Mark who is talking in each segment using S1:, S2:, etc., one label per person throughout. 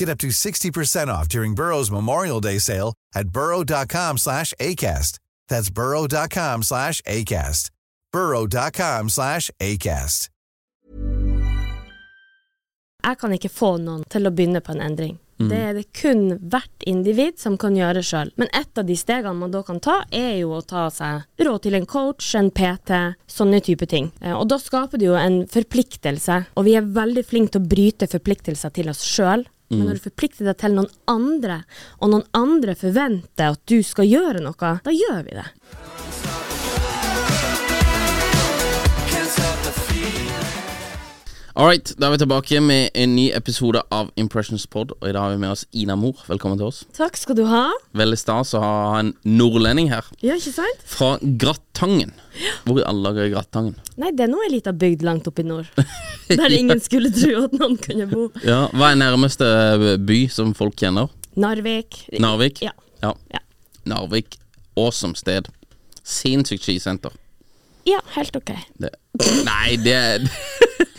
S1: Get up to 60% off during Burrow's Memorial Day sale at burrow.com slash ACAST. That's burrow.com slash ACAST. burrow.com slash ACAST.
S2: Jeg kan ikke få noen til å begynne på en endring. Det er det kun hvert individ som kan gjøre sjøl. Men et av de stegene man da kan ta, er jo å ta seg råd til en coach, en PT, sånne type ting. Eh, Og da skaper det jo en forpliktelse, og vi er veldig flinke til å bryte forpliktelser til oss sjøl. Men når du forplikter deg til noen andre, og noen andre forventer at du skal gjøre noe, da gjør vi det.
S3: Alright, da er vi tilbake med en ny episode av Impressions Pod. Og i dag har vi med oss Ina Mor. Velkommen til oss.
S2: Takk skal du ha.
S3: Veldig stas å ha ha en nordlending her.
S2: Ja, ikke sant?
S3: Fra Grattangen. Hvor i alle dager er Grattangen?
S2: Nei, det er nå ei lita bygd langt oppe i nord, der ingen skulle tro at noen kunne bo.
S3: Ja, Hva er nærmeste by som folk kjenner?
S2: Narvik.
S3: Narvik?
S2: Ja. Ja.
S3: Narvik. Awesome sted. Sinnssykt skisenter.
S2: Ja, helt ok.
S3: Det. Nei, det er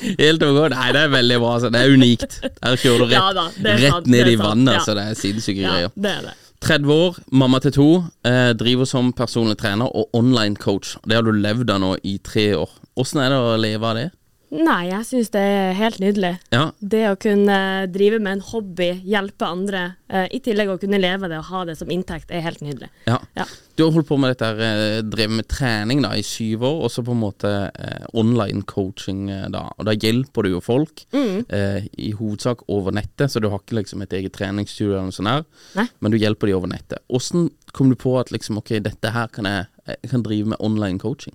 S3: Helt ok. Nei, det er veldig bra. Altså. Det er unikt. Der kjører du rett,
S2: Ja da, det er
S3: rett
S2: sant, det
S3: ned
S2: er
S3: i
S2: sant,
S3: vannet,
S2: ja.
S3: så det er sinnssyke
S2: Ja,
S3: greier.
S2: det er det.
S3: 30 år, mamma til to, eh, driver som personlig trener og online coach. Det har du levd av nå i tre år. Åssen er det å leve av det?
S2: Nei, jeg syns det er helt nydelig.
S3: Ja,
S2: Det å kunne drive med en hobby, hjelpe andre, eh, i tillegg å kunne leve det og ha det som inntekt, er helt nydelig.
S3: ja.
S2: Ja.
S3: Du har holdt på med dette, her, eh, drevet med trening da, i syv år, og så på en måte eh, online coaching eh, da. Og da hjelper du jo folk,
S2: Mm.
S3: eh, i hovedsak over nettet, så du har ikke liksom et eget treningsstudio eller noe sånt her,
S2: Nei.
S3: men du hjelper de over nettet. Åssen kom du på at liksom, ok, dette her kan jeg, jeg kan drive med online coaching?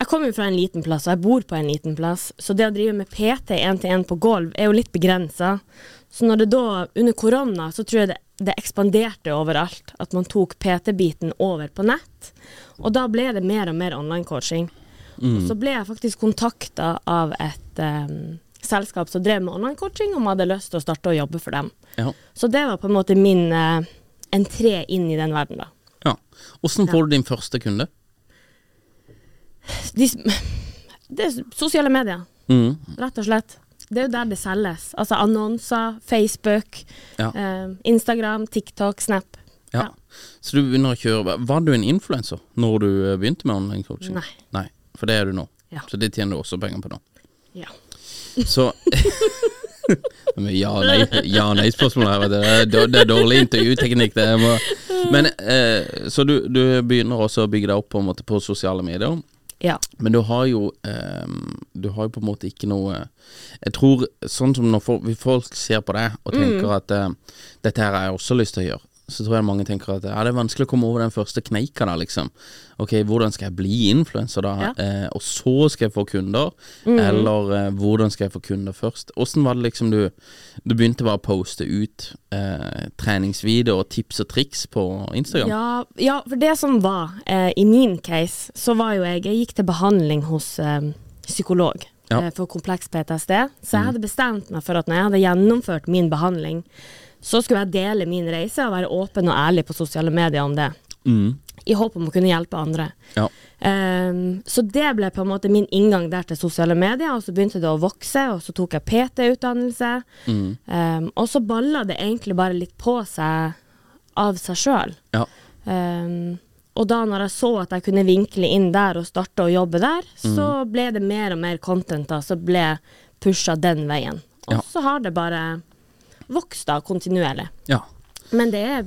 S2: Jeg kommer jo fra en liten plass, og jeg bor på en liten plass, så det å drive med PT én-til-én på gulv er jo litt begrensa. Så når det da, under korona, så tror jeg det, det ekspanderte overalt, at man tok PT-biten over på nett. Og da ble det mer og mer online-coaching. Og så ble jeg faktisk kontakta av et eh, selskap som drev med online-coaching, om jeg hadde lyst til å starte å jobbe for dem.
S3: Ja.
S2: Så det var på en måte min eh, entré inn i den verden, da.
S3: ja. Åssen får du din første kunde?
S2: de, s- det er sosiale medier,
S3: Mm.
S2: rett og slett. Det er jo der det selges. Altså annonser, Facebook,
S3: Ja.
S2: eh, Instagram, TikTok, Snap.
S3: Ja. Så du begynner å kjøre Var du en influenser når du eh, begynte med online coaching?
S2: Nei.
S3: For det er du nå.
S2: Ja.
S3: Så det tjener du også penger på nå.
S2: Ja.
S3: Så Men ja- og nei- ja- og nei-spørsmål her, vet du. Det er dår- Det er dårlig intervjuteknikk, det. Jeg må- Men eh, Så du, du begynner også å bygge deg opp på, en måte, på sosiale medier.
S2: ja.
S3: Men du har jo ehm, Du har jo på en måte ikke noe Jeg tror sånn som når folk, folk ser på deg og tenker
S2: Mm.
S3: at eh, Dette her har jeg også lyst til å gjøre Så tror jeg mange tenker at Ja, det er vanskelig å komme over den første kneika da liksom Ok, hvordan skal jeg bli influencer da?
S2: Ja. Mm.
S3: Eh, og så skal jeg få kunder Eller eh, hvordan skal jeg få kunder først? Hvordan var det liksom du Du begynte bare å poste ut eh, Treningsvideoer og tips og triks på Instagram?
S2: Ja, ja, for det som var eh, i min case, så var jo jeg Jeg gikk til behandling hos eh, psykolog
S3: Ja. Mm.
S2: eh, for kompleks PTSD. Så jeg hadde bestemt meg for at når jeg hadde gjennomført min behandling, så skulle jeg dele min reise og være åpen og ærlig på sosiale medier om det.
S3: Mm.
S2: i håp om å kunne hjelpe andre.
S3: Ja.
S2: Ehm, så det ble på en måte min inngang der til sosiale medier, og så begynte det å vokse, og så tok jeg PT-utdannelse.
S3: Mm.
S2: Ehm, og så balla det egentlig bare litt på seg av seg sjøl.
S3: ja.
S2: Ehm, og da når jeg så at jeg kunne vinkle inn der og starte å jobbe der,
S3: Mm.
S2: så ble det mer og mer content, da, så ble pusha den veien. Og
S3: Ja.
S2: så har det bare vokst da kontinuerlig.
S3: ja.
S2: Men det er,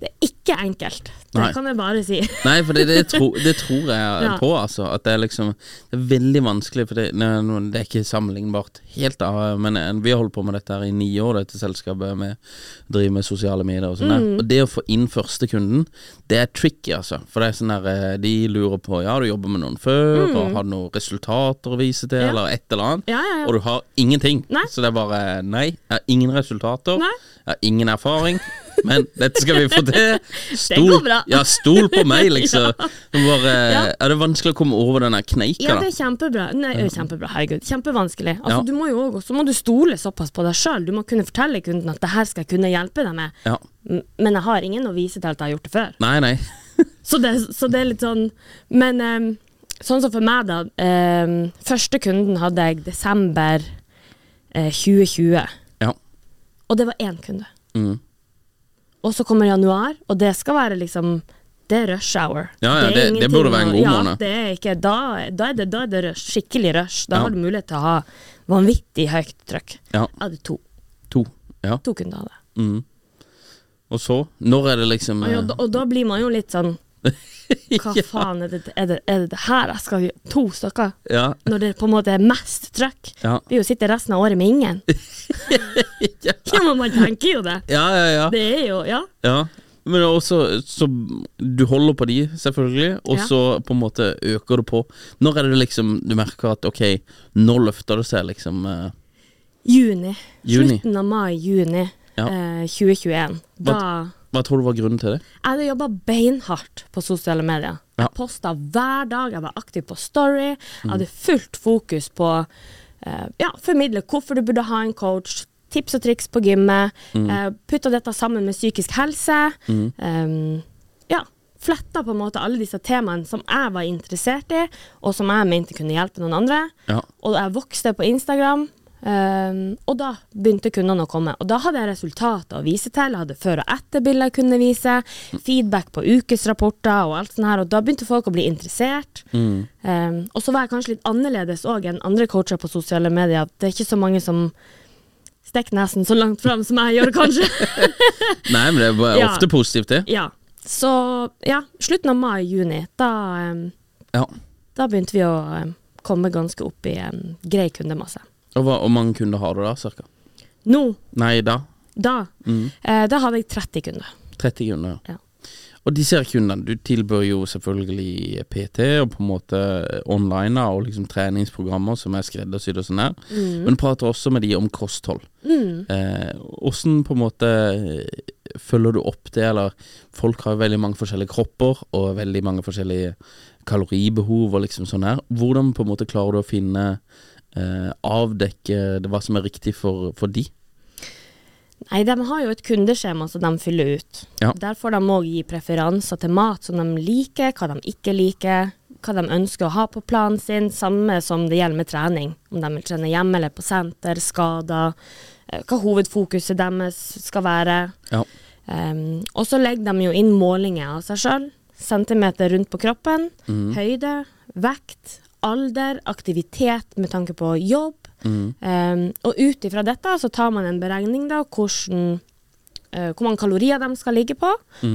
S2: det er ikke enkelt. Det
S3: Nei.
S2: kan jeg bare si.
S3: Nei, for det, det, tro, det tror jeg
S2: Ja.
S3: på, altså. At det er liksom Det er veldig vanskelig, for det, nei, nå- det er ikke sammenlignbart helt, av, men eh, vi har holdt på med dette her i ni år, dette selskapet, med å drive med sosiale medier og sånn der.
S2: Mm.
S3: Og det å få inn første kunden, det er tricky, altså. For det er sånn der eh, De lurer på Ja, du jobber med noen før, og har du noen resultater å vise til,
S2: Mm. Ja.
S3: eller et eller annet.
S2: Ja, ja, ja.
S3: Og du har ingenting.
S2: Nei.
S3: Så det er bare Nei, jeg har ingen resultater.
S2: Nei.
S3: Jeg har ingen erfaring. Men dette skal vi få til.
S2: går bra.
S3: Ja, stol på meg, liksom.
S2: Ja.
S3: Det var, eh,
S2: Ja.
S3: Er det vanskelig å komme over den der kneika,
S2: Ja,
S3: da?
S2: det er kjempebra. Nei, ø, kjempebra, herregud. Kjempevanskelig. Altså,
S3: Ja.
S2: Du må jo også, så må du stole såpass på deg sjøl. Du må kunne fortelle kunden at det her skal jeg kunne hjelpe deg med,
S3: Ja.
S2: M- men jeg har ingen å vise til at jeg har gjort det før.
S3: Nei, nei.
S2: Så det, så det er litt sånn Men em, sånn som for meg, da. em, første kunden hadde jeg desember eh, 2020,
S3: Ja.
S2: og det var én kunde.
S3: Mm.
S2: Og så kommer januar, og det skal være liksom det er rush hour.
S3: Ja, ja, det- det
S2: ingenting
S3: burde være en
S2: å-
S3: god
S2: ja,
S3: måned.
S2: Det er ikke, da, da, er det, da er det rush, skikkelig rush. Da
S3: Ja.
S2: har du mulighet til å ha vanvittig høyt trykk.
S3: Ja.
S2: Jeg hadde to,
S3: To. Ja.
S2: to kunder av det.
S3: Mm. Og så? Når er det liksom
S2: Og, ja,
S3: eh,
S2: da- og da blir man jo litt sånn Hva faen er det, er det, er det, det her jeg skal gjøre? To stykker?
S3: Ja.
S2: Når det på en måte er mest trykk?
S3: Ja.
S2: Vi jo sitter resten av året med ingen. ja, men man tenker jo det.
S3: Ja, ja, ja.
S2: Det er jo Ja.
S3: ja. Men også, så du holder på de, selvfølgelig, og
S2: Ja.
S3: så på en måte øker du på. Når er det liksom du merker at ok, nå løfter det seg, liksom? eh,
S2: Juni.
S3: Juni.
S2: Slutten av mai-juni
S3: Ja.
S2: eh, 2021. Da
S3: Hva tror du var grunnen til det?
S2: Jeg hadde jobba beinhardt på sosiale medier.
S3: Ja. Mm.
S2: Jeg posta hver dag, jeg var aktiv på Story. Jeg hadde fullt fokus på eh, ja, formidle hvorfor du burde ha en coach, tips og triks på gymmet.
S3: Mm.
S2: eh, putta dette sammen med psykisk helse. eh, ja, fletta på en måte alle disse temaene som jeg var interessert i, og som jeg mente kunne hjelpe noen andre.
S3: Ja.
S2: Og jeg vokste på Instagram. ehm, og da begynte kundene å komme. Og da hadde jeg resultater å vise til. Jeg hadde før- og etterbilder jeg kunne vise. Feedback på ukesrapporter og alt sånt her. Og da begynte folk å bli interessert. Ehm, og så var jeg kanskje litt annerledes òg enn andre coacher på sosiale medier. Det er ikke så mange som stikker nesen så langt fram som jeg gjør, kanskje.
S3: Nei, men det er bare
S2: Ja.
S3: ofte positivt, det.
S2: ja. Så ja, slutten av mai-juni, da, ehm,
S3: Ja.
S2: da begynte vi å ehm, komme ganske opp i en grei kundemasse.
S3: Og hva, hvor mange kunder har du da, cirka?
S2: Nå
S3: Nei, da?
S2: Da, eh, da hadde jeg 30 kunder.
S3: 30 kunder,
S2: Ja.
S3: Og disse her kundene, du tilbyr jo selvfølgelig PT og på en måte eh, online og liksom treningsprogrammer som er skreddersydd og sånn her, men prater også med de om kosthold. Eh, hvordan på en måte eh, følger du opp det, eller folk har jo veldig mange forskjellige kropper og veldig mange forskjellige kaloribehov og liksom sånn her. Hvordan på en måte klarer du å finne, eh, avdekke det, hva som er riktig for, for de?
S2: Nei, de har jo et kundeskjema som de fyller ut.
S3: Ja.
S2: Der får de òg gi preferanser til mat som de liker, hva de ikke liker, hva de ønsker å ha på planen sin, samme som det gjelder med trening. Om de vil trene hjemme eller på senter, skader, eh, hva hovedfokuset deres skal være.
S3: Ja.
S2: Um, og så legger de jo inn målinger av seg sjøl. Centimeter rundt på kroppen, høyde, vekt, alder, aktivitet med tanke på jobb. Um, og ut ifra dette så tar man en beregning da, hvordan, eh, hvor mange kalorier de skal ligge på.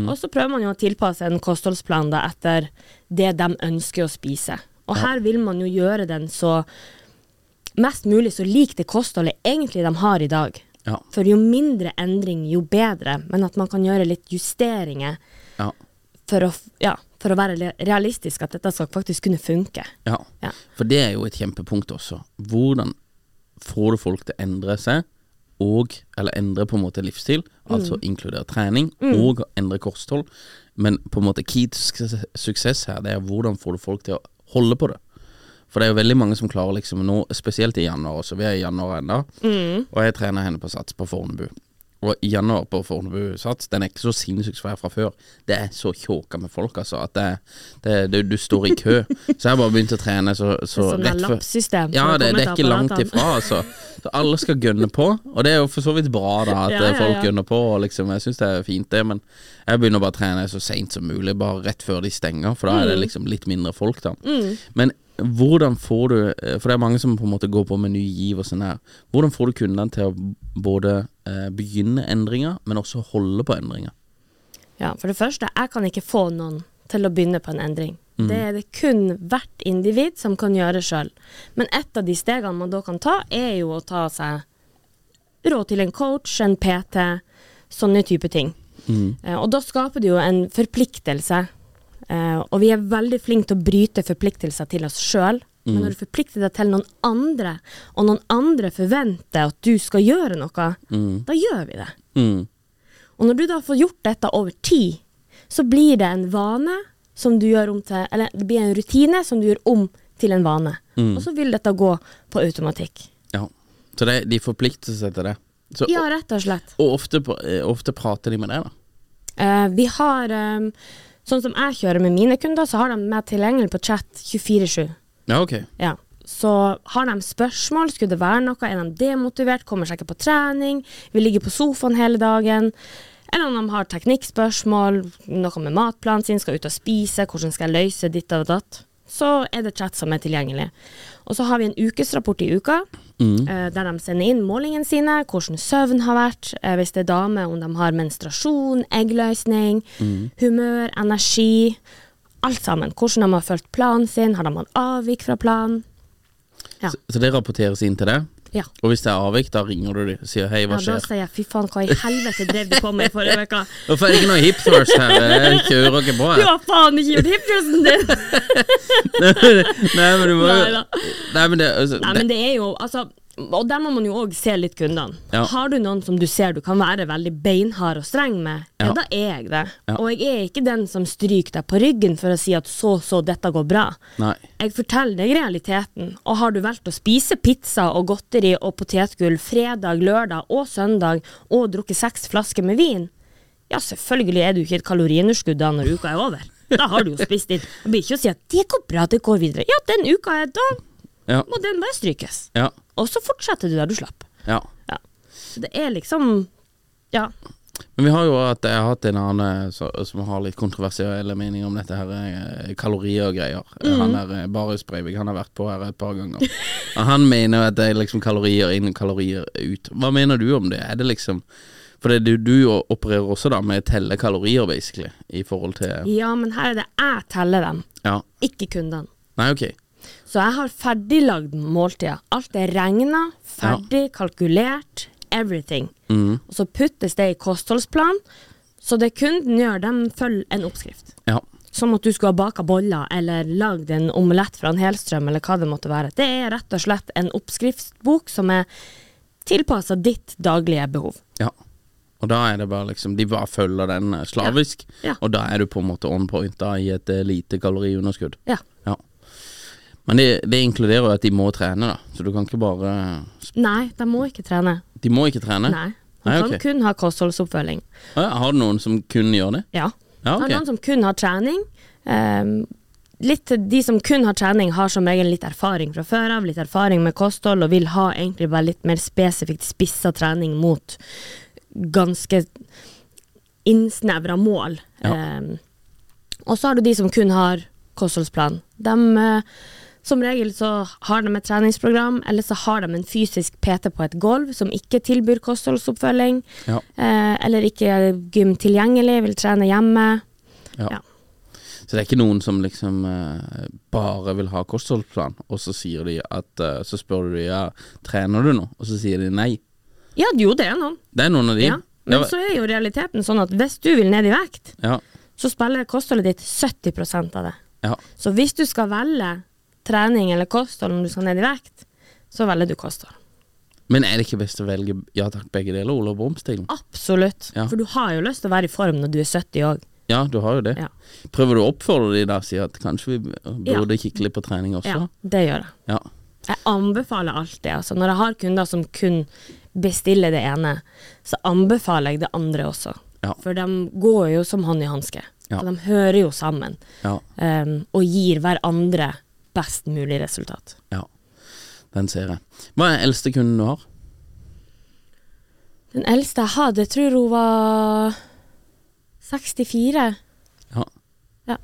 S2: Og så prøver man jo å tilpasse en kostholdsplan da, etter det de ønsker å spise. Og her vil man jo gjøre den så mest mulig så lik det kostholdet egentlig de har i dag.
S3: Ja.
S2: For jo mindre endring, jo bedre, men at man kan gjøre litt justeringer
S3: Ja.
S2: for å, f- ja, for å være le- realistisk, at dette skal faktisk kunne funke.
S3: Ja.
S2: Ja.
S3: for det er jo et kjempepunkt også. Hvordan får du folk til å endre seg, og, eller endre på en måte livsstil, altså inkludere trening, og å endre kosthold. Men på en måte key to suksess- suksess her, det er hvordan får du folk til å holde på det. For det er jo veldig mange som klarer
S2: Mm.
S3: liksom nå, spesielt i januar også, vi er i januar ennå, og jeg trener henne på Sats på Fornebu. Og i januar på Fornebu Sats, den er ikke så sinnssykt svær fra før. Det er så tjåka med folk, altså, at det, det, det, du står i kø. Så jeg bare begynte å trene så, så
S2: Det er sånn
S3: rett før
S2: lappsystem som
S3: Ja,
S2: har
S3: det, det
S2: kommet
S3: er ikke
S2: til
S3: langt
S2: apparatene.
S3: ifra, altså. Så alle skal gønne på, og det er jo for så vidt bra, da, at eh,
S2: Ja, ja,
S3: folk
S2: ja.
S3: gønner på, og liksom, jeg syns det er fint, det, men jeg begynner bare å trene så seint som mulig, bare rett før de stenger, for da er det
S2: Mm.
S3: liksom litt mindre folk, da. Men hvordan får du eh, For det er mange som på en måte går på med ny giv og sånn her. Hvordan får du kundene til å både eh, begynne endringer, men også holde på endringer?
S2: Ja, for det første, jeg kan ikke få noen til å begynne på en endring. Det er det kun hvert individ som kan gjøre sjøl. Men et av de stegene man da kan ta, er jo å ta seg råd til en coach, en PT, sånne type ting. Eh, og da skaper det jo en forpliktelse. Eh, og vi er veldig flinke til å bryte forpliktelser til oss sjøl. Men når du forplikter deg til noen andre, og noen andre forventer at du skal gjøre noe, da gjør vi det.
S3: Mm.
S2: Og når du da får gjort dette over tid, så blir det en vane som du gjør om til Eller det blir en rutine som du gjør om til en vane. Og så vil dette gå på automatikk.
S3: Ja. Så det, de forplikter seg til det. Så,
S2: Ja, rett og slett.
S3: Og ofte, på- eh, ofte prater de med deg, da.
S2: Eh, vi har eh, Sånn som jeg kjører med mine kunder, så har de meg tilgjengelig på chat 24-7.
S3: Ja, ok.
S2: Ja. Så har de spørsmål, skulle det være noe, er de demotivert, kommer seg ikke på trening, vil ligge på sofaen hele dagen, eller om de har teknikkspørsmål, noe med matplanen sin, skal ut og spise, hvordan skal jeg løse ditt og datt, så er det chat som er tilgjengelig. Og så har vi en ukesrapport i uka, eh, der de sender inn målingene sine, hvordan søvn har vært, eh, hvis det er dame, om de har menstruasjon, eggløsning, humør, energi, alt sammen. Hvordan de har fulgt planen sin, har de hatt avvik fra planen? Ja.
S3: Så, så det rapporteres inn til deg?
S2: Ja.
S3: Og hvis det er avvik, da ringer du dem og sier hei,
S2: ja,
S3: hva
S2: da
S3: skjer?
S2: sier jeg fy faen, hva i helvete drev du på med i forrige uke?
S3: Hvorfor er det ikke noe hip thrust her? Jeg kjører ikke bra.
S2: Du
S3: her.
S2: har faen ikke gjort hipjusen din!
S3: Nei, men du må jo
S2: Neida.
S3: Nei, men det, altså,
S2: Nei,
S3: det
S2: men det er jo, altså og der må man jo òg se litt kundene.
S3: Ja.
S2: Har du noen som du ser du kan være veldig beinhard og streng med, ja,
S3: Ja.
S2: da er jeg det. Og jeg er ikke den som stryker deg på ryggen for å si at så, så, dette går bra.
S3: Nei.
S2: Jeg forteller deg realiteten, og har du valgt å spise pizza og godteri og potetgull fredag, lørdag og søndag, og drukket seks flasker med vin, ja, selvfølgelig er du ikke et kaloriunderskudd da når uka er over. Da har du jo spist ditt. Det blir ikke å si at det går bra, det går videre. Ja, den uka er da,
S3: Ja.
S2: må den bare strykes.
S3: Ja.
S2: Og så fortsetter du der du slapp.
S3: ja.
S2: Ja. Så det er liksom Ja.
S3: Men vi har jo hatt, jeg har hatt en annen eh, så- som har litt kontroversielle meninger om dette her, eh, kalorier og greier.
S2: Mhm.
S3: Han er eh, Barius Breivik, han har vært på her et par ganger. Og han mener jo at det er liksom kalorier inn, kalorier ut. Hva mener du om det? Er det liksom For det, du, du opererer også da med å telle kalorier, basically, i forhold til
S2: Ja, men her er det jeg teller dem,
S3: Ja.
S2: ikke kundene.
S3: Nei, ok.
S2: Så jeg har ferdiglagd måltider. Alt er regna, ferdig, kalkulert, everything. Og så puttes det i kostholdsplan, så det kunden gjør, de følger en oppskrift.
S3: Ja.
S2: Som at du skulle ha baka boller eller lagd en omelett fra en helstrøm, eller hva det måtte være. Det er rett og slett en oppskriftsbok som er tilpassa ditt daglige behov.
S3: Ja. Og da er det bare liksom De bare følger den eh, slavisk,
S2: Ja. Ja.
S3: og da er du på en måte on point da i et eh, lite kaloriunderskudd.
S2: Ja.
S3: Ja. Men det, det inkluderer jo at de må trene, da. Så du kan ikke bare
S2: Nei, de må ikke trene.
S3: De må ikke trene?
S2: Nei. De
S3: Nei,
S2: kan
S3: ok.
S2: kun ha kostholdsoppfølging.
S3: Å ja, Har du noen som kun gjør det?
S2: Ja.
S3: Ja,
S2: Det
S3: ok.
S2: er noen som kun har trening. ehm, litt, de som kun har trening, har som regel litt erfaring fra før av, litt erfaring med kosthold, og vil ha egentlig bare litt mer spesifikt spissa trening mot ganske innsnevra mål.
S3: Ja.
S2: Ehm, og så har du de som kun har kostholdsplan. De, eh, som regel så har de et treningsprogram, eller så har de en fysisk PT på et gulv som ikke tilbyr kostholdsoppfølging,
S3: Ja.
S2: eh, eller ikke er gym tilgjengelig, vil trene hjemme.
S3: Ja.
S2: Ja.
S3: Så det er ikke noen som liksom eh, bare vil ha kostholdsplan, og så sier de at eh, Så spør du de ja, trener du nå, og så sier de nei.
S2: Ja, jo, det er noen.
S3: Det er noen av de.
S2: Ja. Men så er jo realiteten sånn at hvis du vil ned i vekt,
S3: ja.
S2: så spiller kostholdet ditt 70 av det.
S3: ja.
S2: Så hvis du skal velge trening eller kosthold når du skal ned i vekt, så velger du kosthold.
S3: Men er det ikke best å velge ja takk, begge deler, Olav Brumstilen?
S2: Absolutt.
S3: Ja.
S2: For du har jo lyst til å være i form når du er 70 òg.
S3: Ja, du har jo det.
S2: Ja.
S3: Prøver du å oppfordre de da, si at kanskje vi burde
S2: Ja.
S3: kikke litt på trening
S2: Ja,
S3: også?
S2: det gjør jeg.
S3: Ja.
S2: Jeg anbefaler alltid, altså. Når jeg har kunder som kun bestiller det ene, så anbefaler jeg det andre også.
S3: Ja.
S2: For de går jo som hånd i hanske.
S3: Ja.
S2: Og de hører jo sammen.
S3: Ja.
S2: ehm, og gir hverandre best mulig resultat.
S3: ja. Den ser jeg. Hva er den eldste kunden du har?
S2: Den eldste jeg hadde, jeg tror hun var 64.
S3: Ja.
S2: Ja.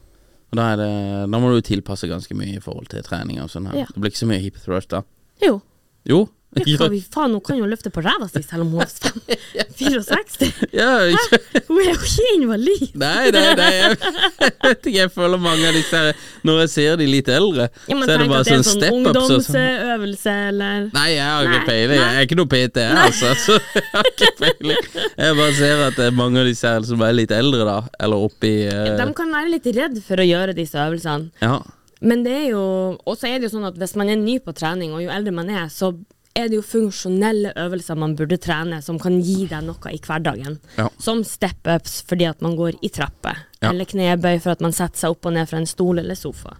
S3: Og da, er det, da må du jo tilpasse ganske mye i forhold til trening og sånn her.
S2: Ja.
S3: Det blir ikke så mye hip thrust da.
S2: Jo.
S3: Jo.
S2: Ja,
S3: Ja,
S2: hva vi faen, hun kan jo løfte på ræva si selv om hun er fem- 64.
S3: ikke.
S2: Hun er jo ikke invalid.
S3: Nei, nei, nei. Jeg vet ikke, jeg føler mange av disse her Når jeg ser de litt eldre,
S2: Ja, men
S3: så er det
S2: tenk
S3: bare
S2: at det er en
S3: sånn
S2: sånn
S3: step-ups. og sånn.
S2: ungdomsøvelse eller
S3: Nei, jeg har ikke
S2: Nei,
S3: peiling. Jeg er ikke noe PT, jeg, altså. Så jeg har ikke peiling. Jeg bare ser at det er mange av disse her som er litt eldre, da. Eller oppi eh,
S2: De kan være litt redd for å gjøre disse øvelsene.
S3: Ja.
S2: Men det er jo Og så er det jo sånn at hvis man er ny på trening, og jo eldre man er, så er det jo funksjonelle øvelser man burde trene som kan gi deg noe i hverdagen.
S3: Ja.
S2: Som step-ups fordi at man går i trapper,
S3: Ja.
S2: eller knebøy for at man setter seg opp og ned fra en stol eller sofa.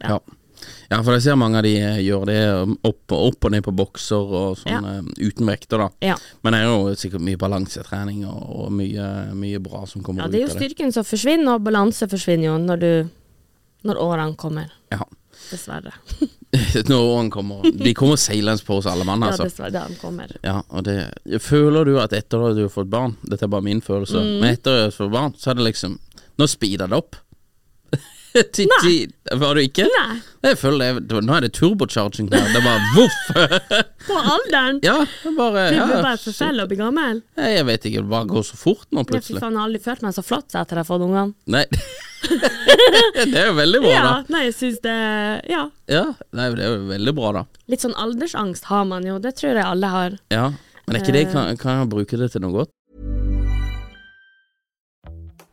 S3: Ja. ja, for jeg ser mange av de eh, gjør det um, opp, opp og ned på bokser og sånn
S2: Ja.
S3: eh, uten vekter, da.
S2: Ja.
S3: Men det er jo sikkert mye balansetrening og, og mye, mye bra som kommer
S2: Ja,
S3: ut
S2: det er jo
S3: av det.
S2: styrken som forsvinner, og balanse forsvinner jo når, du, når årene kommer.
S3: Ja.
S2: Dessverre.
S3: Når årene kommer De kommer seilende på oss alle mann,
S2: Ja,
S3: altså.
S2: dessverre, de kommer.
S3: Ja, og det Føler du at etter at du har fått barn Dette er bare min følelse
S2: Mm.
S3: Men etter at jeg har fått barn Så er det liksom Nå speeder det opp Ti- ti- Var du ikke?
S2: Nei,
S3: Jeg føler det Nå er det turbocharging her Det er bare voff
S2: på alderen!
S3: Ja, det er bare
S2: Du
S3: ja,
S2: blir bare
S3: shit.
S2: forfell og blir gammel.
S3: Nei, Jeg vet ikke Det bare går så fort nå
S2: Jeg fy
S3: plutselig
S2: faen, jeg har aldri følt meg så flott etter jeg har fått ungene.
S3: Nei Det er jo veldig bra da
S2: Ja, nei, jeg synes det Ja.
S3: Ja, nei, det er jo veldig bra da
S2: Litt sånn aldersangst har man jo, det tror jeg alle har.
S3: Ja Men er ikke
S2: Eh.
S3: det Kan, kan jeg bruke det til noe godt?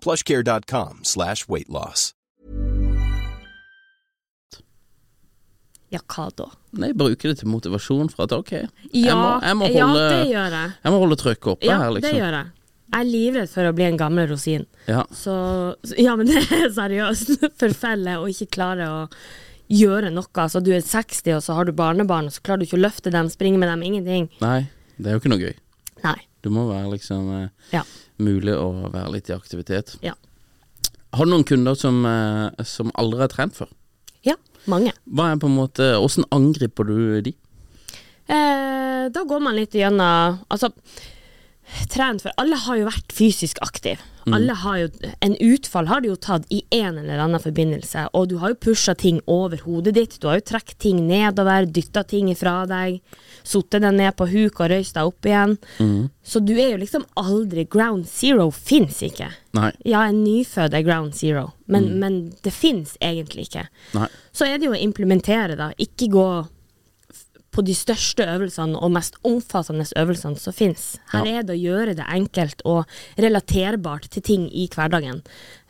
S4: plushcare.com slash weight loss.
S2: Ja, hva da?
S3: Nei, bruke det til motivasjon for at ok, jeg,
S2: Ja,
S3: må, jeg, må holde,
S2: ja det gjør jeg.
S3: jeg må holde trykket oppe
S2: Ja,
S3: her, liksom.
S2: det gjør jeg. Jeg er livredd for å bli en gammel rosin.
S3: Ja.
S2: Så så- Ja, men det er seriøst. Forfelle og ikke klare å gjøre noe. Altså, du er 60, og så har du barnebarn, og så klarer du ikke å løfte dem, springe med dem, ingenting.
S3: Nei, det er jo ikke noe gøy.
S2: Nei.
S3: Det må være liksom eh,
S2: Ja.
S3: mulig å være litt i aktivitet.
S2: Ja.
S3: Har du noen kunder som, eh, som aldri har trent før?
S2: Ja, mange.
S3: Hva er på en måte, Hvordan angriper du de?
S2: Eh, da går man litt gjennom Altså, trent for Alle har jo vært fysisk aktiv. Alle har jo En utfall har du jo tatt i en eller annen forbindelse, og du har jo pusha ting over hodet ditt. Du har jo trukket ting nedover, dytta ting ifra deg, sittet deg ned på huk og røyst deg opp igjen. Så du er jo liksom aldri Ground zero fins ikke.
S3: Nei.
S2: Ja, en nyfødt er ground zero, men, men det fins egentlig ikke.
S3: Nei.
S2: Så er det jo å implementere, da. Ikke gå f- på de største øvelsene og mest omfattende øvelsene som fins. Her
S3: Ja.
S2: er det å gjøre det enkelt og relaterbart til ting i hverdagen.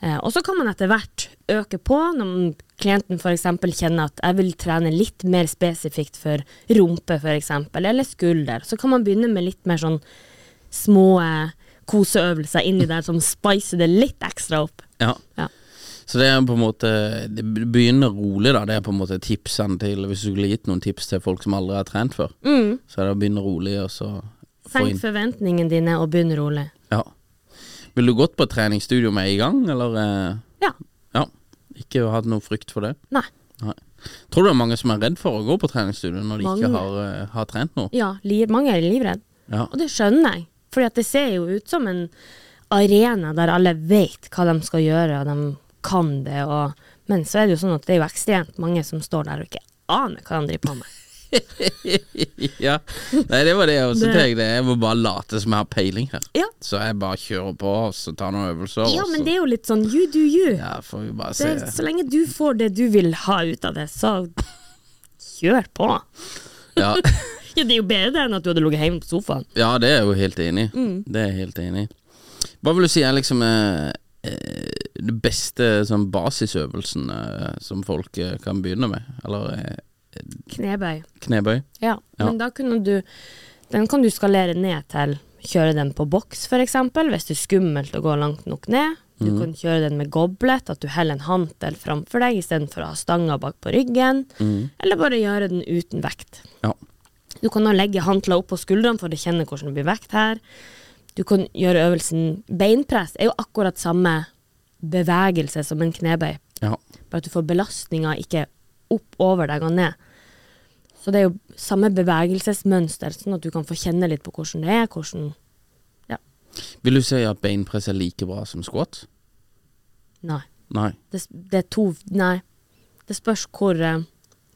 S2: Eh, og så kan man etter hvert øke på når klienten f.eks. kjenner at jeg vil trene litt mer spesifikt for rumpe f.eks., eller skulder. Så kan man begynne med litt mer sånn små eh, koseøvelser inni der som spicer det litt ekstra opp.
S3: Ja.
S2: Ja.
S3: Så det er på en måte Det begynner rolig, da. Det er på en måte tipsene til Hvis du skulle gitt noen tips til folk som aldri har trent før,
S2: Mm.
S3: så er det å begynne rolig, og så få
S2: Senk
S3: inn
S2: forventningene dine og begynn rolig.
S3: Ja. Vil du gått på et treningsstudio med en gang, eller? eh,
S2: Ja.
S3: Ja. Ikke hatt noe frykt for det?
S2: Nei.
S3: Nei. Tror du det er mange som er redd for å gå på treningsstudio når de
S2: Mange.
S3: ikke har, eh, har trent noe?
S2: Ja, liv, mange er livredd.
S3: Ja.
S2: Og det skjønner jeg. Fordi at det ser jo ut som en arena der alle vet hva de skal gjøre, og de kan det. Og, men så er det jo sånn at det er jo ekstremt mange som står der og ikke aner hva de driver på med.
S3: ja. Nei, det var det jeg også
S2: Det-
S3: tenkte. Jeg må bare late som jeg har peiling her.
S2: Ja.
S3: Så jeg bare kjører på og så tar noen øvelser.
S2: Ja,
S3: og
S2: men
S3: så-
S2: det er jo litt sånn you do you.
S3: Ja, får vi bare
S2: Det
S3: se.
S2: er, så lenge du får det du vil ha ut av det, så kjør på. Ja,
S3: Ja.
S2: det er jo bedre enn at du hadde ligget hjemme på sofaen.
S3: ja, det er jeg jo helt enig i.
S2: Mm.
S3: Det er jeg helt enig i. Hva vil du si er liksom eh, eh, det beste sånn basisøvelsen eh, som folk eh, kan begynne med? Eller eh,
S2: Knebøy.
S3: knebøy?
S2: Ja,
S3: Ja.
S2: men da kunne du Den kan du skalere ned til Kjøre den på boks for eksempel Hvis det er skummelt å gå langt nok ned Du kan kjøre den med goblet At du heller en hantel framfor deg I stedet for å ha stanger bak på ryggen Eller bare gjøre den uten vekt
S3: Ja.
S2: Du kan nå legge hantla opp på skuldrene For å kjenne hvordan det blir vekt her Du kan gjøre øvelsen Beinpress er jo akkurat samme bevegelse som en knebøy
S3: ja.
S2: bare at du får belastninga ikke opp over deg og ned. Så det er jo samme bevegelsesmønster, sånn at du kan få kjenne litt på hvordan det er. hvordan...
S3: Vil du si at beinpress er like bra som squat?
S2: Nei.
S3: Nei.
S2: Det, s- det er to Nei. Det spørs hvor eh,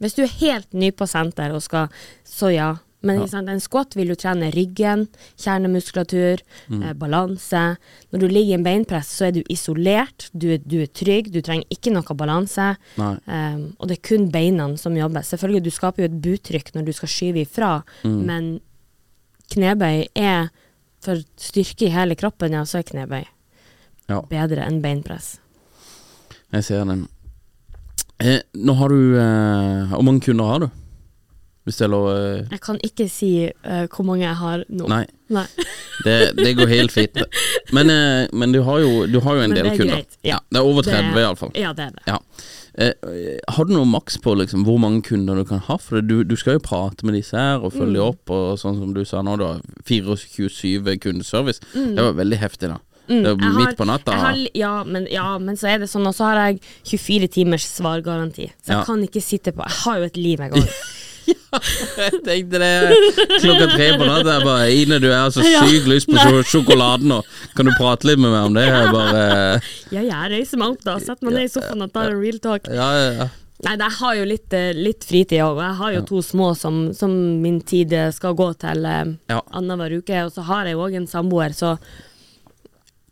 S2: Hvis du er helt ny på senter og skal Så ja. Men ikke sant, en squat vil jo trene ryggen, kjernemuskulatur, eh, balanse. Når du ligger i en beinpress, så er du isolert, du er, du er trygg, du trenger ikke noe balanse.
S3: Nei.
S2: Um, og det er kun beina som jobber. Selvfølgelig, du skaper jo et buttrykk når du skal skyve ifra,
S3: Mm.
S2: men knebøy er For styrke i hele kroppen, ja, så er knebøy
S3: Ja.
S2: bedre enn beinpress.
S3: Jeg ser den. Eh, nå har du eh, Hvor mange kunder har du? Hvis det er lov eh,
S2: Jeg kan ikke si eh, hvor mange jeg har nå.
S3: Nei,
S2: Nei.
S3: det, det går helt fint. Men, eh, men du, har jo, du har jo en
S2: Men
S3: del
S2: det er
S3: kunder.
S2: greit, ja.
S3: det er over
S2: Det-
S3: 30 iallfall.
S2: Ja, det er det.
S3: Ja. Eh, har du noe maks på liksom, hvor mange kunder du kan ha? For du, du skal jo prate med disse her og
S2: Mm.
S3: følge opp, og sånn som du sa nå, du har 24-7 kundeservice. Det var veldig heftig, da. Det var
S2: Mm. Jeg har-
S3: midt på natta.
S2: jeg har li- ja, men, ja, men så er det sånn, og så har jeg 24 timers svargaranti. Så jeg
S3: Ja.
S2: kan ikke sitte på Jeg har jo et liv, jeg òg.
S3: Jeg tenkte det klokka tre på natta. Jeg bare Ine, du er så
S2: Ja.
S3: sykt lyst på sj- sjokoladen nå. Kan du prate litt med meg om det? Jeg bare eh,
S2: Ja, jeg reiser meg opp da, setter meg ned i sofaen og tar en real talk.
S3: Ja, ja, ja.
S2: Nei, jeg har jo litt, eh, litt fritid òg. Jeg har jo to små som, som min tid eh, skal gå til eh,
S3: Ja.
S2: annenhver uke. Og så har jeg jo òg en samboer, så,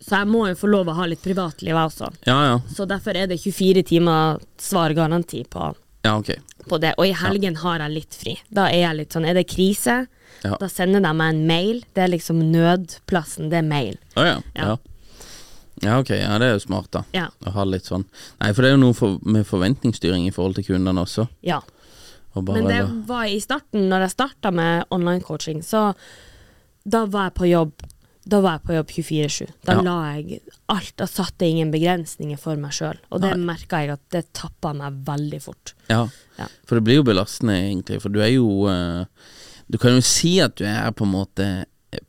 S2: så jeg må jo få lov å ha litt privatliv jeg også.
S3: Ja, ja.
S2: Så derfor er det 24 timer svargaranti på,
S3: ja ok.
S2: på det. Og i helgen har jeg litt fri. Da er jeg litt sånn Er det krise?
S3: Ja.
S2: Da sender de meg en mail. Det er liksom nødplassen. Det er mail.
S3: Å ja.
S2: Ja.
S3: ja. Ja, ok. Ja, det er jo smart, da.
S2: Ja.
S3: Å ha litt sånn. Nei, for det er jo noe for, med forventningsstyring i forhold til kundene også.
S2: Ja.
S3: Og bare,
S2: Men det var i starten, når jeg starta med online coaching, så da var jeg på jobb. Da var jeg på jobb 24-7. Da
S3: Ja.
S2: la jeg alt. Da satte jeg ingen begrensninger for meg sjøl. Og det merka jeg at det tappa meg veldig fort.
S3: Ja.
S2: Ja.
S3: For det blir jo belastende, egentlig. For du er jo eh, Du kan jo si at du er på en måte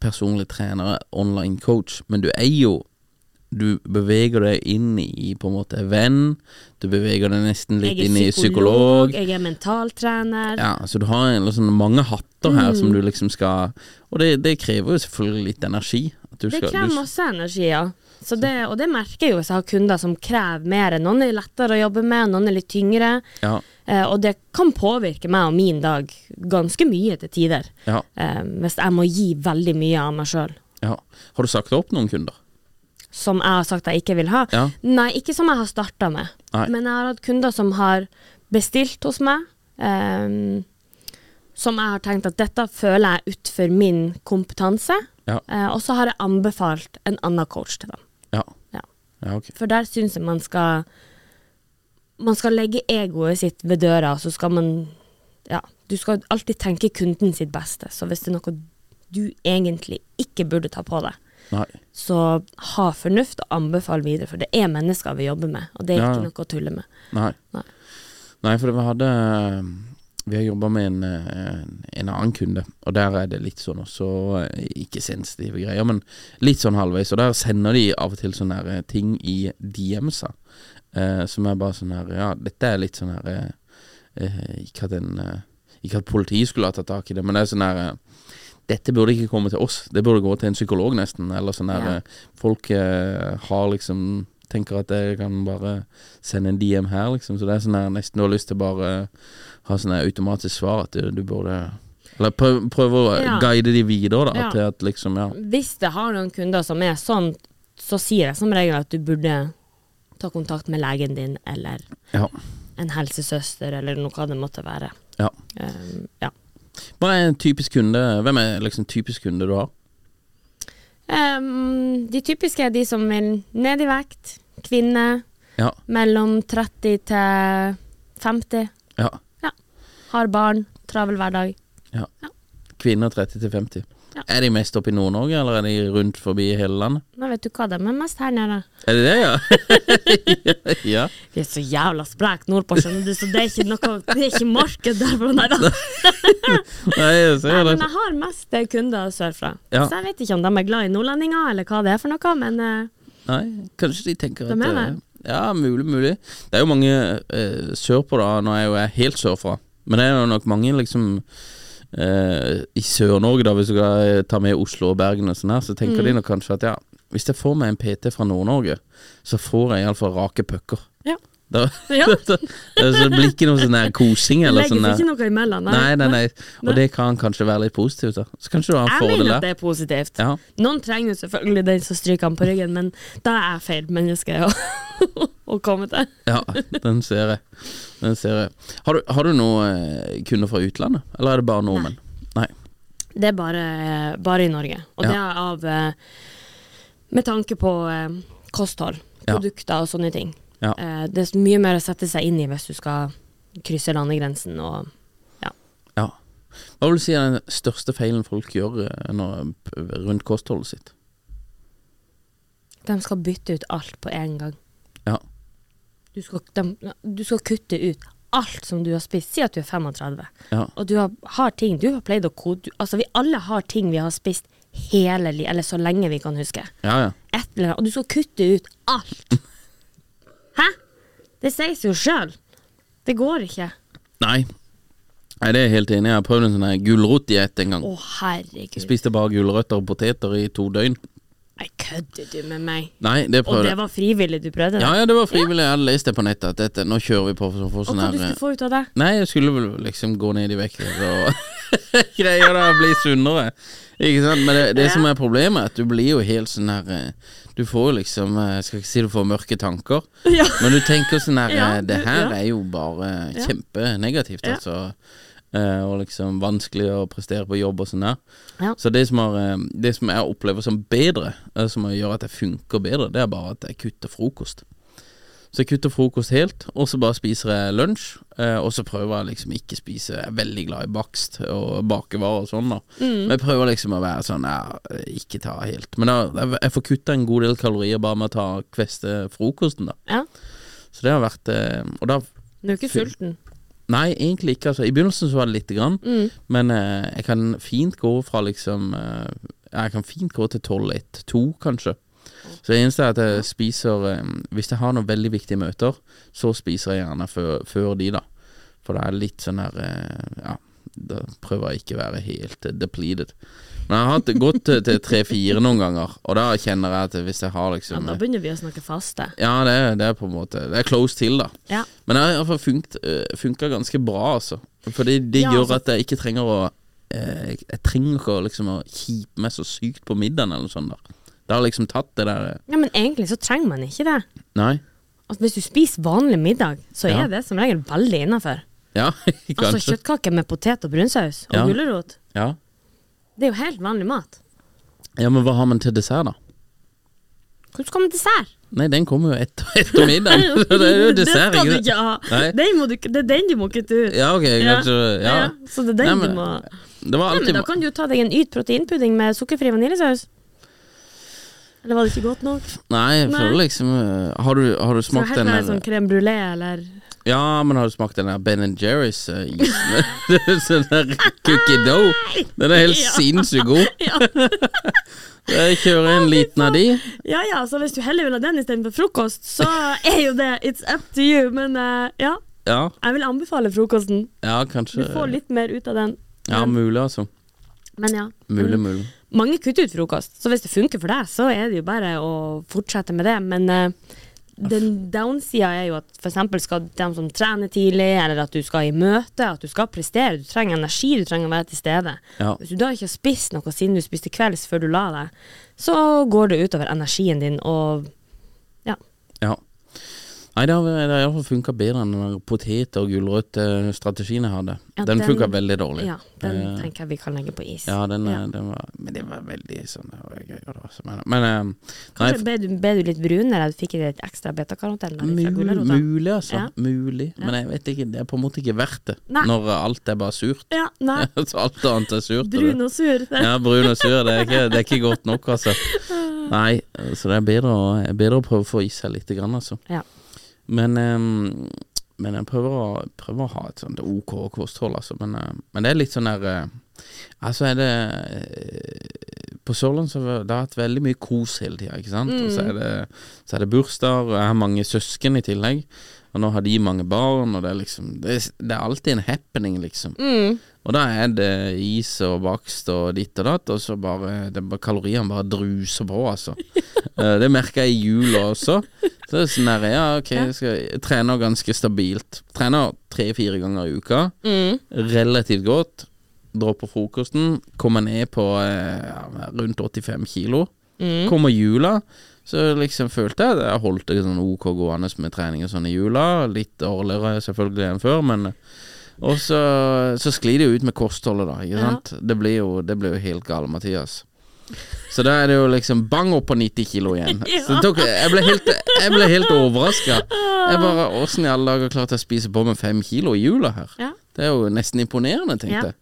S3: personlig trener, online coach, men du er jo Du beveger deg inn i på en måte venn, du beveger deg nesten litt
S2: jeg
S3: inn i
S2: er
S3: psykolog.
S2: jeg er mentaltrener.
S3: Ja, så du har en, eller sånn mange hatter her som du
S2: Mm.
S3: liksom skal Og det, det krever jo selvfølgelig litt energi. At du
S2: Det
S3: skal- du-
S2: krever masse energi, ja. Så det, og det merker jeg jo hvis jeg har kunder som krever mer. Noen er lettere å jobbe med, noen er litt tyngre.
S3: Ja,
S2: Eh, og det kan påvirke meg og min dag ganske mye til tider.
S3: ja,
S2: eh, hvis jeg må gi veldig mye av meg sjøl,
S3: ja. Har du sagt opp noen kunder?
S2: som jeg har sagt jeg ikke vil ha.
S3: Ja.
S2: Nei, ikke som jeg har starta med,
S3: Nei.
S2: men jeg har hatt kunder som har bestilt hos meg, ehm, som jeg har tenkt at dette føler jeg utfor min kompetanse,
S3: Ja.
S2: eh, og så har jeg anbefalt en annen coach til dem.
S3: Ja.
S2: Ja.
S3: Ja, ok.
S2: For der syns jeg man skal Man skal legge egoet sitt ved døra, så skal man Ja, du skal alltid tenke kunden sitt beste. Så hvis det er noe du egentlig ikke burde ta på deg,
S3: Nei.
S2: så ha fornuft og anbefal videre, for det er mennesker vi jobber med, og det er
S3: Ja, ja.
S2: ikke noe å tulle med.
S3: Nei.
S2: Nei.
S3: Nei, for det var- hadde eh, Vi har jobba med en, eh, en annen kunde, og der er det litt sånn også eh, Ikke sensitive greier, men litt sånn halvveis. Og der sender de av og til sånne her, eh, ting i DM-sa, eh, som er bare sånn her Ja, dette er litt sånn her eh, eh, Ikke at en eh, Ikke at politiet skulle ha tatt tak i det, men det er sånn her eh, Dette burde ikke komme til oss, det burde gå til en psykolog, nesten. Eller sånn der
S2: Ja.
S3: eh, Folk eh, har liksom Tenker at jeg kan bare sende en DM her, liksom. Så det er sånn der nesten du har lyst til bare ha sånn der automatisk svar at du, du burde Eller prøve prøv å
S2: Ja.
S3: guide de videre, da.
S2: Ja.
S3: Til at liksom, ja.
S2: Hvis jeg har noen kunder som er sånn, så sier jeg som regel at du burde ta kontakt med legen din eller
S3: Ja.
S2: en helsesøster eller noe hva det måtte være.
S3: ja.
S2: Um, ja.
S3: Hva er en typisk kunde? Hvem er liksom typisk kunde du har?
S2: Um, de typiske er de som vil ned i vekt, kvinne,
S3: Ja.
S2: mellom 30 til 50,
S3: ja.
S2: har barn, travel hverdag.
S3: Kvinner 30 til 50.
S2: Ja.
S3: Er de mest oppe i Nord-Norge, eller er de rundt forbi hele landet?
S2: Nå vet du hva de er mest her nede.
S3: Er det det, ja? ja.
S2: Vi er så jævla spreke nordpå, skjønner du, så det er ikke noe Det er ikke marked der. for- Nei, da.
S3: Nei, jeg
S2: Nei,
S3: ser
S2: men
S3: det.
S2: jeg har mest eh, kunder sørfra.
S3: Ja.
S2: Så jeg vet ikke om de er glad i nordlendinger, eller hva det er for noe, men eh,
S3: Nei, kanskje de tenker
S2: Da
S3: at
S2: mener jeg.
S3: eh, Ja, mulig, mulig. Det er jo mange eh, sørpå, da. Nå er jeg jo jeg helt sørfra, men det er jo nok mange liksom eh, I Sør-Norge, da, hvis du skal eh, ta med Oslo og Bergen og sånn her, så tenker
S2: Mm.
S3: de nok kanskje at ja, hvis jeg får meg en PT fra Nord-Norge, så får jeg iallfall rake pucker.
S2: Ja.
S3: Da,
S2: Ja.
S3: så det blir ikke noe sånn der kosing
S2: det
S3: eller
S2: legges
S3: sånn der.
S2: ikke noe imellom.
S3: Nei, nei, nei. Og det kan kanskje være litt positivt, da. Så kanskje du har en
S2: Jeg
S3: fordel
S2: mener at
S3: der.
S2: det er positivt.
S3: Ja.
S2: Noen trenger jo selvfølgelig den som stryker han på ryggen, men da er jeg feil menneske å, å komme til.
S3: Ja, den ser jeg. Den ser jeg. Har du, har du noen eh, kunder fra utlandet, eller er det bare nordmenn? Nei.
S2: Det er bare, bare i Norge, og det er av eh, Med tanke på eh, kosthold,
S3: Ja.
S2: produkter og sånne ting.
S3: Ja.
S2: Eh, Det er mye mer å sette seg inn i hvis du skal krysse landegrensen og ja.
S3: ja. Hva vil du si er den største feilen folk gjør eh, når, rundt kostholdet sitt?
S2: De skal bytte ut alt på en gang.
S3: Ja.
S2: Du skal, de, du skal kutte ut alt som du har spist. Si at du er 35,
S3: Ja.
S2: og du har, har ting Du har pleid å kode du, Altså, vi alle har ting vi har spist hele livet, eller så lenge vi kan huske.
S3: Ja, ja.
S2: Et eller annet. Og du skal kutte ut alt. Hæ? Det sier seg jo sjøl. Det går ikke.
S3: Nei. Nei, det er jeg helt enig i. Jeg har prøvd en sånn her gulrotdiett en gang.
S2: Å, herregud.
S3: Jeg spiste bare gulrøtter og poteter i to døgn.
S2: Nei, kødder du med meg?
S3: Nei, det
S2: Og
S3: prøvde
S2: det
S3: jeg.
S2: var frivillig du prøvde det?
S3: Ja, ja, det var frivillig. Jeg hadde lest det på nettet. At dette, nå kjører vi på for å få
S2: og
S3: sånn
S2: hva
S3: her
S2: du
S3: eh,
S2: skulle få ut av det?
S3: Nei, jeg skulle vel liksom gå ned i vekt og greier da å bli sunnere. Ikke sant? Men det, det som er problemet, er at du blir jo helt sånn her eh, Du får jo liksom eh, Jeg skal ikke si du får mørke tanker,
S2: Ja.
S3: men du tenker sånn her
S2: Ja,
S3: eh, Det
S2: du-
S3: her
S2: ja.
S3: er jo bare kjempenegativt,
S2: Ja.
S3: altså. Eh, Og liksom vanskelig å prestere på jobb og sånn der.
S2: Ja.
S3: Så det som, har, eh, det som jeg opplever som bedre, eh, som gjør at jeg funker bedre, det er bare at jeg kutter frokost. Så jeg kutter frokost helt, og så bare spiser jeg lunsj. Eh, og så prøver jeg liksom ikke spise Jeg er veldig glad i bakst og bakevarer og sånn, da. Men jeg prøver liksom å være sånn ja, ikke ta helt. Men da, jeg- jeg får kutta en god del kalorier bare med å ta kveste frokosten, da.
S2: Ja.
S3: Så det har vært eh, Og da
S2: Du er ikke
S3: Fyll.
S2: sulten?
S3: Nei, egentlig ikke. Altså. I begynnelsen så var det lite grann,
S2: Mm.
S3: men eh, jeg kan fint gå fra liksom eh, Jeg kan fint gå til tolv, ett, to, kanskje. Så det eneste er at jeg spiser eh, Hvis jeg har noen veldig viktige møter, så spiser jeg gjerne før, før de, da. For det er det litt sånn her eh, Ja, da prøver jeg ikke å være helt eh, depleted. Men jeg har hatt, gått til- til tre-fire noen ganger, og da kjenner jeg at hvis jeg har
S2: Ja,
S3: liksom
S2: da begynner vi å snakke faste.
S3: ja, det, er- det er på en måte Det er close til, da.
S2: Ja.
S3: Men det har i hvert fall funkt, eh, funka ganske bra, altså. For det, det
S2: Ja,
S3: gjør
S2: altså-
S3: at jeg ikke trenger å eh, Jeg trenger ikke å liksom å kjipe meg så sykt på middagen eller noe sånt. der Det har liksom tatt det der
S2: Ja, men egentlig så trenger man ikke det.
S3: Nei?
S2: Altså, hvis du spiser vanlig middag, så er
S3: Ja.
S2: det som regel veldig innafor.
S3: Ja,
S2: Altså
S3: kanskje.
S2: kjøttkaker med potet og brunsaus og
S3: Ja.
S2: gulrot.
S3: ja.
S2: Det er jo helt vanlig mat.
S3: ja, men hva har man til dessert, da?
S2: Hvordan skal man dessert?
S3: Nei, den kommer jo etter, etter middagen. Så det er jo
S2: Det
S3: dessert,
S2: skal du
S3: sant?
S2: ikke ha.
S3: Nei.
S2: Den må du, ikke- det er den du må kutte ut.
S3: Ja, ok, kanskje Ja.
S2: Ja, Så det er den
S3: Nei,
S2: du
S3: men-
S2: må
S3: Det var
S2: Nei, men
S3: alltid
S2: Da kan du jo ta deg en yt proteinpudding med sukkerfri vaniljesaus. Eller var det ikke godt nok?
S3: Nei, jeg
S2: Nei.
S3: føler liksom eh, Har du, har du
S2: Skal
S3: smakt
S2: helt
S3: den
S2: være
S3: der-
S2: sånn crème brulé eller
S3: Ja, men har du smakt den der Ben Jerry's eh, isen? den der cookie dough. Den er helt
S2: Ja.
S3: sinnssykt god.
S2: Ja.
S3: Jeg kjører en liten av de.
S2: Ja ja, så hvis du heller vil ha den istedenfor frokost, så er jo det It's up to you, men eh, ja.
S3: Ja,
S2: Jeg vil anbefale frokosten.
S3: ja
S2: Du
S3: kanskje
S2: får litt mer ut av den.
S3: Ja, mulig, altså.
S2: Men ja.
S3: Mulig, mulig.
S2: Mange kutter ut frokost, så hvis det funker for deg, så er det jo bare å fortsette med det. Men eh, den downsida er jo at f.eks. skal de som trener tidlig, eller at du skal i møte, at du skal prestere. Du trenger energi, du trenger å være til stede.
S3: Ja.
S2: Hvis du da ikke har spist noe siden du spiste kvelds før du la deg, så går det utover energien din og ja.
S3: Ja. Nei, det har, det har iallfall funka bedre enn den der potet- og gulrøttstrategien jeg hadde.
S2: Ja,
S3: den
S2: den-
S3: funka veldig dårlig.
S2: ja den
S3: Eh,
S2: tenker jeg vi kan legge på is.
S3: ja, den, eh,
S2: Ja.
S3: den var Men det var veldig sånn det var gøy, og det var så- Men, men eh, nei,
S2: Kanskje ble du, ble du litt brunere, eller fikk du litt ekstra betakaroten
S3: f-
S2: fra
S3: mul,
S2: gulrota?
S3: mulig, altså.
S2: Ja.
S3: Mulig. Men jeg vet ikke, det er på en måte ikke verdt det.
S2: Nei.
S3: Når eh, alt er bare surt.
S2: Ja, nei.
S3: Så alt annet er surt. og det-
S2: Brun og sur.
S3: Ja, brun og sur, det er ikke, det er ikke godt nok, altså. Nei, så det er bedre å, bedre å prøve å få i seg litt, grann, altså.
S2: Ja.
S3: Men, ehm, men jeg prøver å, prøver å ha et sånt ok kosthold, altså. Men, eh, men det er litt sånn der eh, Altså er det eh, På Sørlandet så har det vært veldig mye kos hele tida, ikke sant. Og så er det, så er det bursdager, og jeg har mange søsken i tillegg. Og nå har de mange barn, og det er liksom Det er, det er alltid en happening, liksom. Og da er det is og bakst og ditt og datt, og så bare det, er bare- Kaloriene bare druser på, altså. Eh, det merker jeg i jula også. Så det er sånn der, ja, ok, jeg, skal, jeg trener ganske stabilt. Trener tre-fire ganger i uka. Relativt godt. Dropper frokosten. Kommer ned på eh, ja, rundt 85 kilo.
S2: Mm.
S3: Kommer jula. Så liksom følte jeg at jeg holdt det sånn ok gående med trening og sånn i jula. Litt dårligere selvfølgelig enn før, men og så, så sklir det jo ut med kostholdet, da. Ikke
S2: Ja.
S3: sant? Det, blir jo, det blir jo helt gale, Mathias. Så da er det jo liksom bang opp på 90 kilo igjen. Så det tok, jeg ble helt, jeg ble helt overraska. Jeg bare Åssen i alle dager klarte jeg å spise på meg fem kilo i jula her?
S2: Ah. Ja.
S3: Det er jo nesten imponerende,
S2: Ja.
S3: tenkte jeg.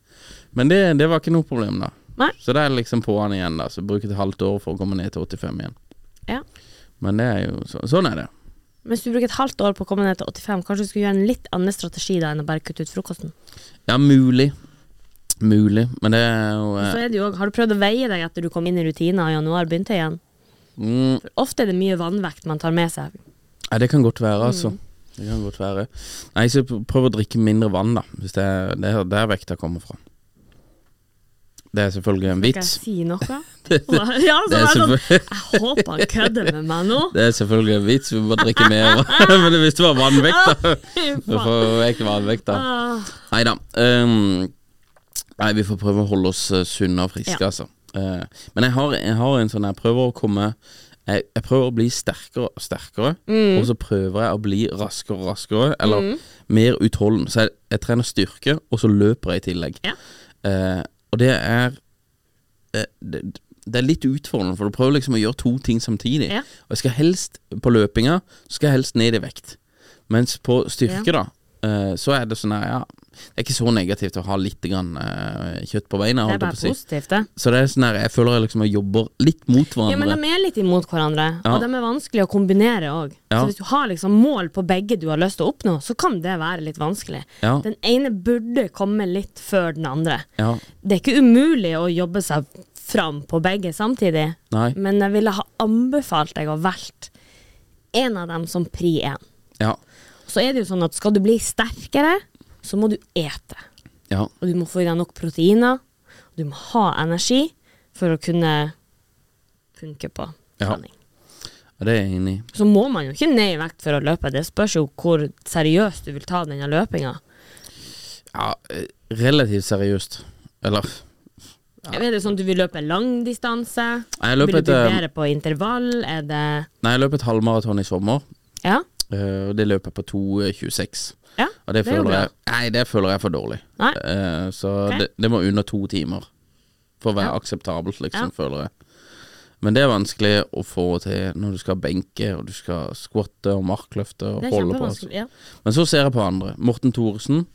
S3: Men det, det var ikke noe problem, da.
S2: Nei.
S3: Så da er det liksom på'n igjen, da. Så bruker det et halvt år for å komme ned til 85 igjen.
S2: Ja.
S3: Men det er jo så, sånn er det.
S2: Hvis du bruker et halvt år på å komme ned til 85, kanskje du skulle gjøre en litt annen strategi da enn å bare kutte ut frokosten.
S3: Ja, mulig. Mulig. Men det er jo eh,
S2: Så er det jo også, Har du prøvd å veie deg etter du kom inn i rutiner og januar begynte igjen?
S3: mm,
S2: For ofte er det mye vannvekt man tar med seg.
S3: Ja, det kan godt være, altså.
S2: Mm.
S3: Det kan godt være. Nei, så pr- prøv å drikke mindre vann, da. Hvis det er det er der vekta kommer fra. Det er selvfølgelig en
S2: Skal jeg
S3: vits.
S2: si noe? ja, så
S3: det er
S2: er sånn,
S3: selvfølgelig-
S2: jeg håper han kødder med meg nå.
S3: Det er selvfølgelig en vits, vi må drikke mer vann. Men hvis det var vannvekta Hvorfor er ikke vannvekta?
S2: Ah.
S3: Nei da. ehm, nei, vi får prøve å holde oss eh, sunne og friske,
S2: Ja.
S3: altså. Eh, men jeg har, jeg har en sånn Jeg prøver å komme jeg, jeg prøver å bli sterkere og sterkere,
S2: Mm.
S3: og så prøver jeg å bli raskere og raskere, eller mer utholden. Så jeg, jeg trener styrke, og så løper jeg i tillegg.
S2: Ja.
S3: Eh, og det er eh, det, det er litt utfordrende, for du prøver liksom å gjøre to ting samtidig.
S2: Ja.
S3: Og jeg skal helst på løpinga så skal jeg helst ned i vekt. Mens på styrke, da, eh, så er det sånn her, ja, det er ikke så negativt å ha litt grann, eh, kjøtt på beina.
S2: Det
S3: holdt
S2: er
S3: jeg på
S2: bare
S3: å si.
S2: positivt, det.
S3: Så det er sånn her, jeg føler jeg liksom jeg jobber litt mot
S2: Ja, men
S3: hverandre.
S2: de er litt imot hverandre,
S3: Ja.
S2: og de er vanskelig å kombinere òg. Så
S3: Ja.
S2: hvis du har liksom mål på begge du har lyst til å oppnå, så kan det være litt vanskelig.
S3: Ja.
S2: Den ene burde komme litt før den andre.
S3: ja,
S2: Det er ikke umulig å jobbe seg fram på begge samtidig,
S3: Nei.
S2: men jeg ville ha anbefalt deg å velge en av dem som pri én.
S3: ja,
S2: Så er det jo sånn at skal du bli sterkere, så må du ete.
S3: ja,
S2: Og du må få i deg nok proteiner, og du må ha energi for å kunne funke på
S3: Ja.
S2: trening.
S3: det er jeg enig i.
S2: Så må man jo ikke ned i vekt for å løpe, det spørs jo hvor seriøst du vil ta denne løpinga.
S3: Ja, eh, relativt seriøst. Eller
S2: Er det sånn at du vil løpe lang distanse?
S3: Jeg løper
S2: vil du
S3: et, eh,
S2: bedre på intervall? Er det
S3: Nei, jeg løp et halvmaraton i sommer,
S2: Ja?
S3: eh, og det løper jeg på eh, 2,26.
S2: Ja,
S3: Og det,
S2: er jo
S3: føler
S2: bra.
S3: jeg Nei, det føler jeg er for dårlig.
S2: Nei.
S3: Eh, så
S2: Ok.
S3: det, det må under to timer for å være akseptabelt, liksom, føler jeg. Men det er vanskelig å få til når du skal benke, og du skal skvatte og markløfte og
S2: Det er
S3: holde på. altså.
S2: kjempevanskelig. Ja. Mm.
S3: Men så ser jeg på andre. Morten Thoresen.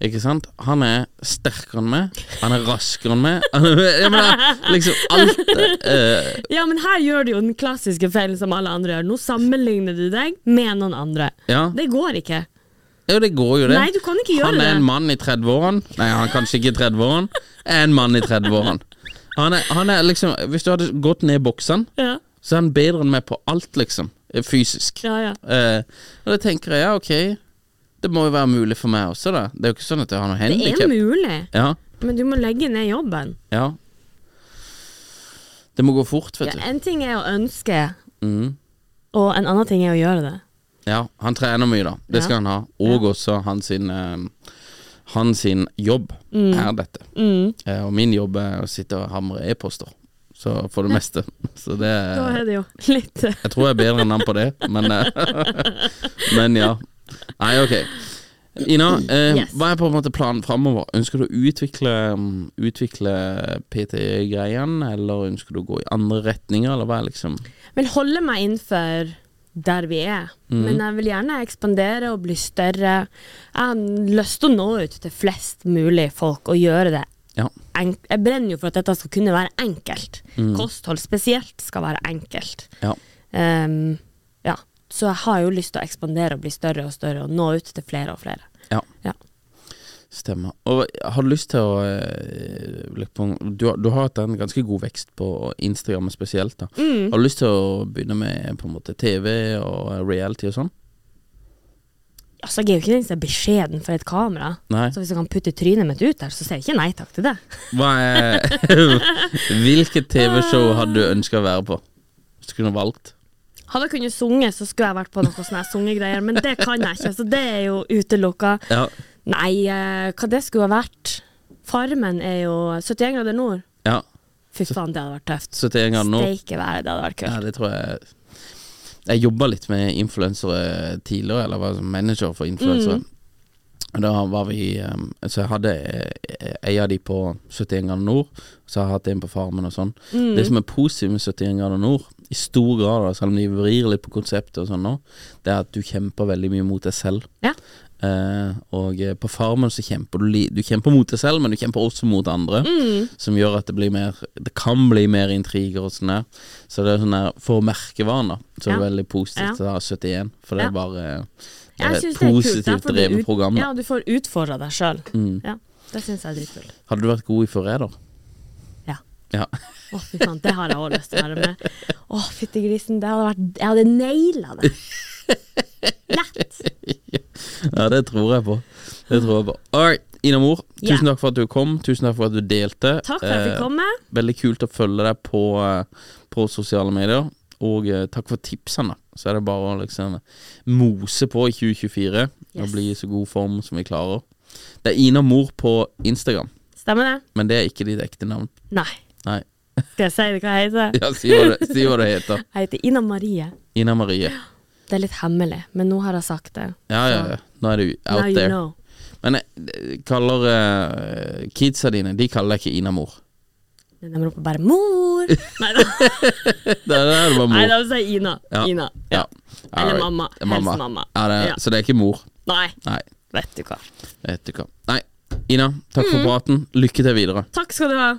S3: Ikke sant? Han er sterkere enn meg. Han er raskere enn meg. Han er, jeg mener, liksom alt eh,
S2: ja, men her gjør du jo den klassiske feilen som alle andre gjør. Nå sammenligner du deg med noen andre.
S3: Ja.
S2: Det går ikke.
S3: Jo, det går jo det.
S2: Nei, du kan ikke gjøre
S3: han er
S2: det.
S3: en mann i 30-årene. Nei, han er kanskje ikke i 30-årene. Er en mann i 30-årene. Han, er- han er liksom Hvis du hadde gått ned i boksene,
S2: Ja,
S3: så er han bedre enn meg på alt, liksom. eh, Fysisk.
S2: ja, ja.
S3: Eh, og da tenker jeg ja, ok, det må jo være mulig for meg også, da. Det er jo ikke sånn at jeg har noe
S2: Det
S3: handikap.
S2: er mulig.
S3: Ja.
S2: Men du må legge ned jobben.
S3: Ja. Det må gå fort,
S2: Ja,
S3: vet du.
S2: en ting er å ønske,
S3: Mm.
S2: og en annen ting er å gjøre det.
S3: Ja, han trener mye, da. Det
S2: Ja.
S3: skal han ha. Og også hans sin, eh, han sin jobb er dette.
S2: Mm.
S3: Eh, og min jobb er å sitte og hamre e-poster, så for det meste. Så det
S2: Da er det jo litt eh,
S3: Jeg tror jeg er bedre enn han på det, men eh, Men ja. Nei, ok. Ina, eh,
S2: Yes.
S3: hva er på en måte planen framover? Ønsker du å utvikle, mm, utvikle PT-greien, eller ønsker du å gå i andre retninger, eller hva er liksom
S2: Vil holde meg innenfor der vi er,
S3: Mm.
S2: men jeg vil gjerne ekspandere og bli større. Jeg har lyst til å nå ut til flest mulig folk og gjøre det.
S3: Ja.
S2: enk- Jeg brenner jo for at dette skal kunne være enkelt.
S3: Mm.
S2: Kosthold spesielt skal være enkelt.
S3: Ja.
S2: Ehm, ja. Så jeg har jo lyst til å ekspandere og bli større og større og nå ut til flere og flere.
S3: ja.
S2: Ja.
S3: Stemmer. Og har du lyst til å eh, liksom, du, har- du har hatt en ganske god vekst på Instagram spesielt. da Har du lyst til å begynne med på en måte TV og reality og sånn?
S2: Altså, jeg er jo ikke den som er beskjeden for et kamera.
S3: Nei.
S2: Så hvis jeg kan putte trynet mitt ut der, så sier jeg ikke nei takk til det.
S3: Hva er Hvilket TV-show hadde du ønska å være på? Hvis du kunne valgt?
S2: Hadde jeg kunnet sunge, så skulle jeg vært på noe sånne sungegreier, men det kan jeg ikke, så det er jo utelukka.
S3: Ja.
S2: Nei, eh, hva det skulle ha vært? Farmen er jo 71 grader nord.
S3: ja.
S2: Fy faen, det hadde vært tøft.
S3: 71 ganger nå?
S2: Steike været, det hadde vært
S3: Ja,
S2: kult.
S3: det tror jeg Jeg jobba litt med influensere tidligere, eller var som manager for influensere. Og Da var vi um, Så jeg hadde eh, ei av de på 71 grader nord, så har jeg hatt en på Farmen og sånn.
S2: Mm.
S3: Det som er positivt med 71 grader nord, i stor grad, da, selv om de vrir litt på konseptet og sånn nå, det er at du kjemper veldig mye mot deg selv.
S2: Ja.
S3: Eh, og eh, på Farmen så kjemper du li- Du kjemper mot deg selv, men du kjemper også mot andre.
S2: Mm.
S3: Som gjør at det blir mer Det kan bli mer intriger og sånn der. Så det er sånn der For merkevaren, da, så er det
S2: Ja.
S3: veldig positivt å ha 71, for det
S2: Ja.
S3: er bare eh, det
S2: Jeg
S3: er
S2: synes det
S3: et
S2: er kult. der
S3: positivt
S2: får du
S3: drevet
S2: ut-
S3: program. da. Mm.
S2: Ja, du får utfordra deg sjøl. Ja, det syns jeg er dritkult.
S3: Hadde du vært god i forræder?
S2: Ja.
S3: Ja.
S2: Å, fy faen, det har jeg òg lyst til å være med. Å, fytti grisen, det hadde vært Jeg hadde naila det. Lett.
S3: ja, det tror jeg på. Det tror jeg på. All right, Ina Mor,
S2: Ja.
S3: tusen takk for at du kom. Tusen takk for at du delte.
S2: Takk for at jeg fikk
S3: Eh,
S2: komme.
S3: Veldig kult å følge deg på, eh, på sosiale medier. Og eh, takk for tipsene. Så er det bare å liksom mose på i 2024 og
S2: Yes.
S3: bli i så god form som vi klarer. Det er Ina Mor på Instagram,
S2: Stemmer det?
S3: men det er ikke ditt ekte navn.
S2: Nei.
S3: Nei.
S2: Skal jeg si det hva jeg heter?
S3: Ja, si hva det, si hva det heter.
S2: Jeg heter Ina Marie.
S3: Ina Marie.
S2: Det er litt hemmelig, men nå har jeg sagt det.
S3: Ja, ja, ja. Nå er du
S2: Now
S3: out
S2: you
S3: there.
S2: know.
S3: Men jeg kaller eh, kidsa dine De kaller deg ikke Ina Mor.
S2: De roper bare 'mor'. Nei da,
S3: Det er det var
S2: Nei,
S3: mor.
S2: de sier Ina.
S3: Ja.
S2: Ina.
S3: Ja.
S2: Eller
S3: Alright.
S2: mamma. Helst mamma.
S3: Ja, det,
S2: Ja.
S3: Så det er ikke mor.
S2: Nei,
S3: Nei,
S2: vet du hva.
S3: vet du hva. Nei. Ina, takk
S2: Mhm.
S3: for praten. Lykke til videre.
S2: Takk skal du ha.